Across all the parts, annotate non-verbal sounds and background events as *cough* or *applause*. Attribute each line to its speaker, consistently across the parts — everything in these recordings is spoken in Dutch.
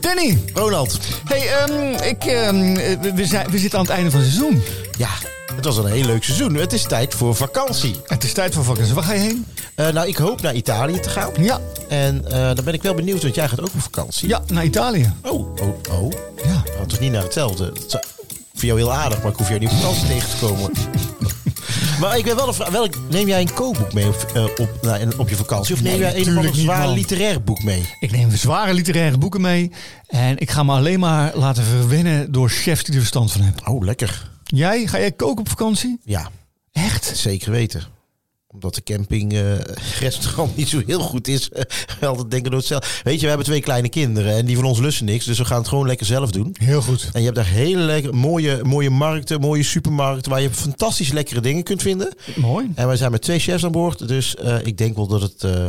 Speaker 1: Danny.
Speaker 2: Ronald.
Speaker 1: Hey, ehm, ik, ehm, we- we, zijn, we zitten aan het einde van het seizoen.
Speaker 2: Ja, het was een heel leuk seizoen. Het is tijd voor vakantie.
Speaker 1: Het is tijd voor vakantie. Waar ga je heen?
Speaker 2: Eh, nou, ik hoop naar Italië te gaan.
Speaker 1: Ja.
Speaker 2: En eh, dan ben ik wel benieuwd, want jij gaat ook op vakantie.
Speaker 1: Ja, naar Italië.
Speaker 2: Oh, oh, oh.
Speaker 1: Ja.
Speaker 2: Nou, het is niet naar hetzelfde. Het zou- voor jou heel aardig, maar ik hoef jou niet op vakantie tegen te
Speaker 1: *laughs*
Speaker 2: komen. maar ik ben wel een vraag. Welk, neem jij een kookboek mee op, eh, op, nou, en- op je vakantie? Of neem
Speaker 1: Nee,
Speaker 2: jij een of
Speaker 1: natuurlijk
Speaker 2: ander
Speaker 1: niet,
Speaker 2: zwaar
Speaker 1: man.
Speaker 2: literair boek mee?
Speaker 1: Ik neem zware literaire boeken mee. En ik ga me alleen maar laten verwennen door chefs die er verstand van hebben.
Speaker 2: Oh, lekker.
Speaker 1: Jij? Ga jij koken op vakantie?
Speaker 2: Ja,
Speaker 1: Echt?
Speaker 2: zeker weten omdat de campingrestaurant *laughs* niet zo heel goed is. eh, *laughs* Altijd denken door het zelf. Weet je, we hebben twee kleine kinderen. En die van ons lussen niks. Dus we gaan het gewoon lekker zelf doen.
Speaker 1: Heel goed.
Speaker 2: En je hebt daar hele lekker, mooie, mooie markten, mooie supermarkten... waar je fantastisch lekkere dingen kunt vinden.
Speaker 1: Mooi.
Speaker 2: En wij zijn met twee chefs aan boord. Dus eh, ik denk wel dat het, eh,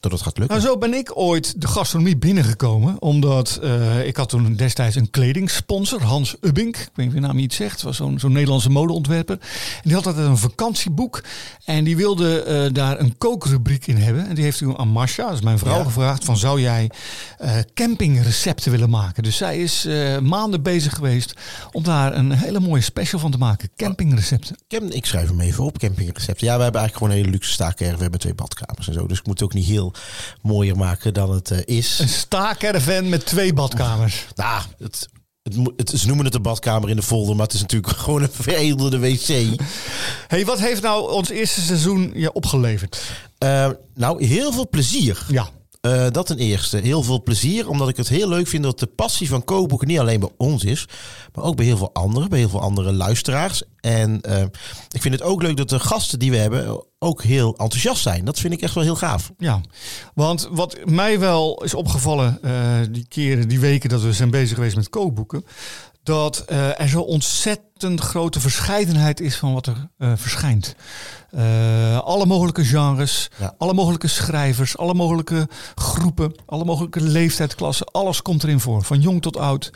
Speaker 2: dat het gaat lukken.
Speaker 1: Nou, zo ben ik ooit de gastronomie binnengekomen. Omdat eh, ik had toen destijds een kledingsponsor, Hans Ubbink. Ik weet niet of je naam niet zegt. was zo'n zo'n Nederlandse modeontwerper. En die had altijd een vakantieboek. En die wilde eh, daar een kookrubriek in hebben. En die heeft toen aan Masha, dat is mijn vrouw,
Speaker 2: Ja.
Speaker 1: gevraagd van zou jij eh, campingrecepten willen maken? Dus zij is eh, maanden bezig geweest om daar een hele mooie special van te maken. Campingrecepten.
Speaker 2: Cam- ik schrijf hem even op, campingrecepten. Ja, we hebben eigenlijk gewoon een hele luxe staakerf. We hebben twee badkamers en zo. Dus ik moet het ook niet heel mooier maken dan het eh, is.
Speaker 1: Een staakerven met twee badkamers.
Speaker 2: Nou, het, het, mo- het- ze noemen het een badkamer in de folder... maar het is natuurlijk *laughs* gewoon een veredelde wc.
Speaker 1: hey, wat heeft nou ons eerste seizoen je opgeleverd?
Speaker 2: Eh, nou, heel veel plezier.
Speaker 1: Ja.
Speaker 2: Eh, dat ten eerste. Heel veel plezier, omdat ik het heel leuk vind dat de passie van kookboeken niet alleen bij ons is, maar ook bij heel veel anderen, bij heel veel andere luisteraars. En eh, ik vind het ook leuk dat de gasten die we hebben ook heel enthousiast zijn. Dat vind ik echt wel heel gaaf.
Speaker 1: Ja, want wat mij wel is opgevallen eh, die keren, die weken dat we zijn bezig geweest met kookboeken, dat eh, er zo ontzettend grote verscheidenheid is van wat er eh, verschijnt. Eh, alle mogelijke genres,
Speaker 2: Ja.
Speaker 1: alle mogelijke schrijvers, alle mogelijke groepen, alle mogelijke leeftijdsklassen, alles komt erin voor, van jong tot oud,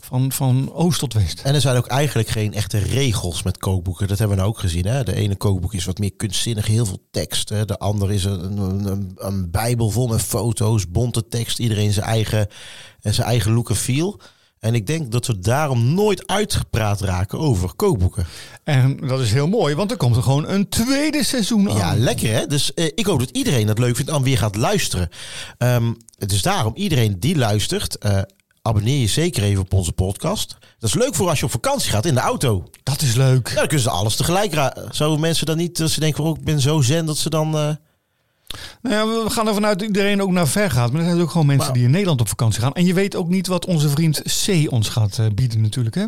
Speaker 1: van, van oost tot west.
Speaker 2: En er zijn ook eigenlijk geen echte regels met kookboeken. Dat hebben we nou ook gezien. Hè? De ene kookboek is wat meer kunstzinnig, heel veel tekst. Hè? De ander is een, een, een, een bijbel vol met foto's, bonte tekst. Iedereen zijn eigen, en zijn eigen look en feel. En ik denk dat we daarom nooit uitgepraat raken over kookboeken.
Speaker 1: En dat is heel mooi, want er komt er gewoon een tweede seizoen aan.
Speaker 2: Ja, lekker hè. Dus eh, ik hoop dat iedereen dat leuk vindt en weer gaat luisteren. Ehm, dus daarom, iedereen die luistert, eh, abonneer je zeker even op onze podcast. Dat is leuk voor als je op vakantie gaat in de auto.
Speaker 1: Dat is leuk.
Speaker 2: Ja, dan kunnen ze alles tegelijk raken. Zouden mensen dan niet, dat ze denken, oh, ik ben zo zen, dat ze dan... eh,
Speaker 1: Nou ja, we gaan ervan uit dat iedereen ook naar ver gaat. Maar er zijn ook gewoon mensen
Speaker 2: Maar-
Speaker 1: die in Nederland op vakantie gaan. En je weet ook niet wat onze vriend C ons gaat eh, bieden natuurlijk, hè?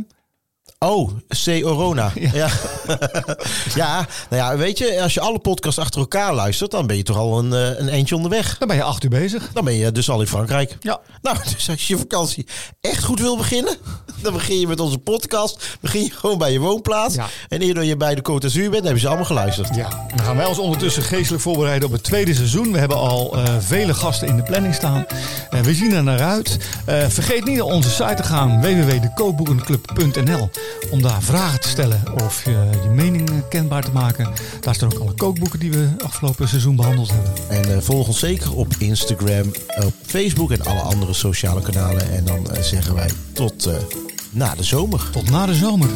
Speaker 2: Oh, C-Orona.
Speaker 1: Ja.
Speaker 2: Ja. *laughs* Ja. nou ja, weet je, als je alle podcasts achter elkaar luistert, dan ben je toch al een, eh, een eindje onderweg.
Speaker 1: Dan ben je acht uur bezig.
Speaker 2: Dan ben je dus al in Frankrijk.
Speaker 1: Ja.
Speaker 2: Nou, *laughs* dus als je je vakantie echt goed wil beginnen, *laughs* dan begin je met onze podcast. Begin je gewoon bij je woonplaats.
Speaker 1: Ja.
Speaker 2: En eerder je bij de Côte d'Azur bent, hebben ze allemaal geluisterd.
Speaker 1: Ja, dan gaan wij ons ondertussen geestelijk voorbereiden op het tweede seizoen. We hebben al eh, vele gasten in de planning staan. En we zien er naar uit. Eh, vergeet niet naar onze site te gaan, www.dekookboekenclub.nl. Om daar vragen te stellen of je je mening eh, kenbaar te maken. Daar staan ook alle kookboeken die we afgelopen seizoen behandeld hebben.
Speaker 2: En eh, volg ons zeker op Instagram, op Facebook en alle andere sociale kanalen. En dan eh, zeggen wij tot eh, na de zomer.
Speaker 1: Tot na de zomer.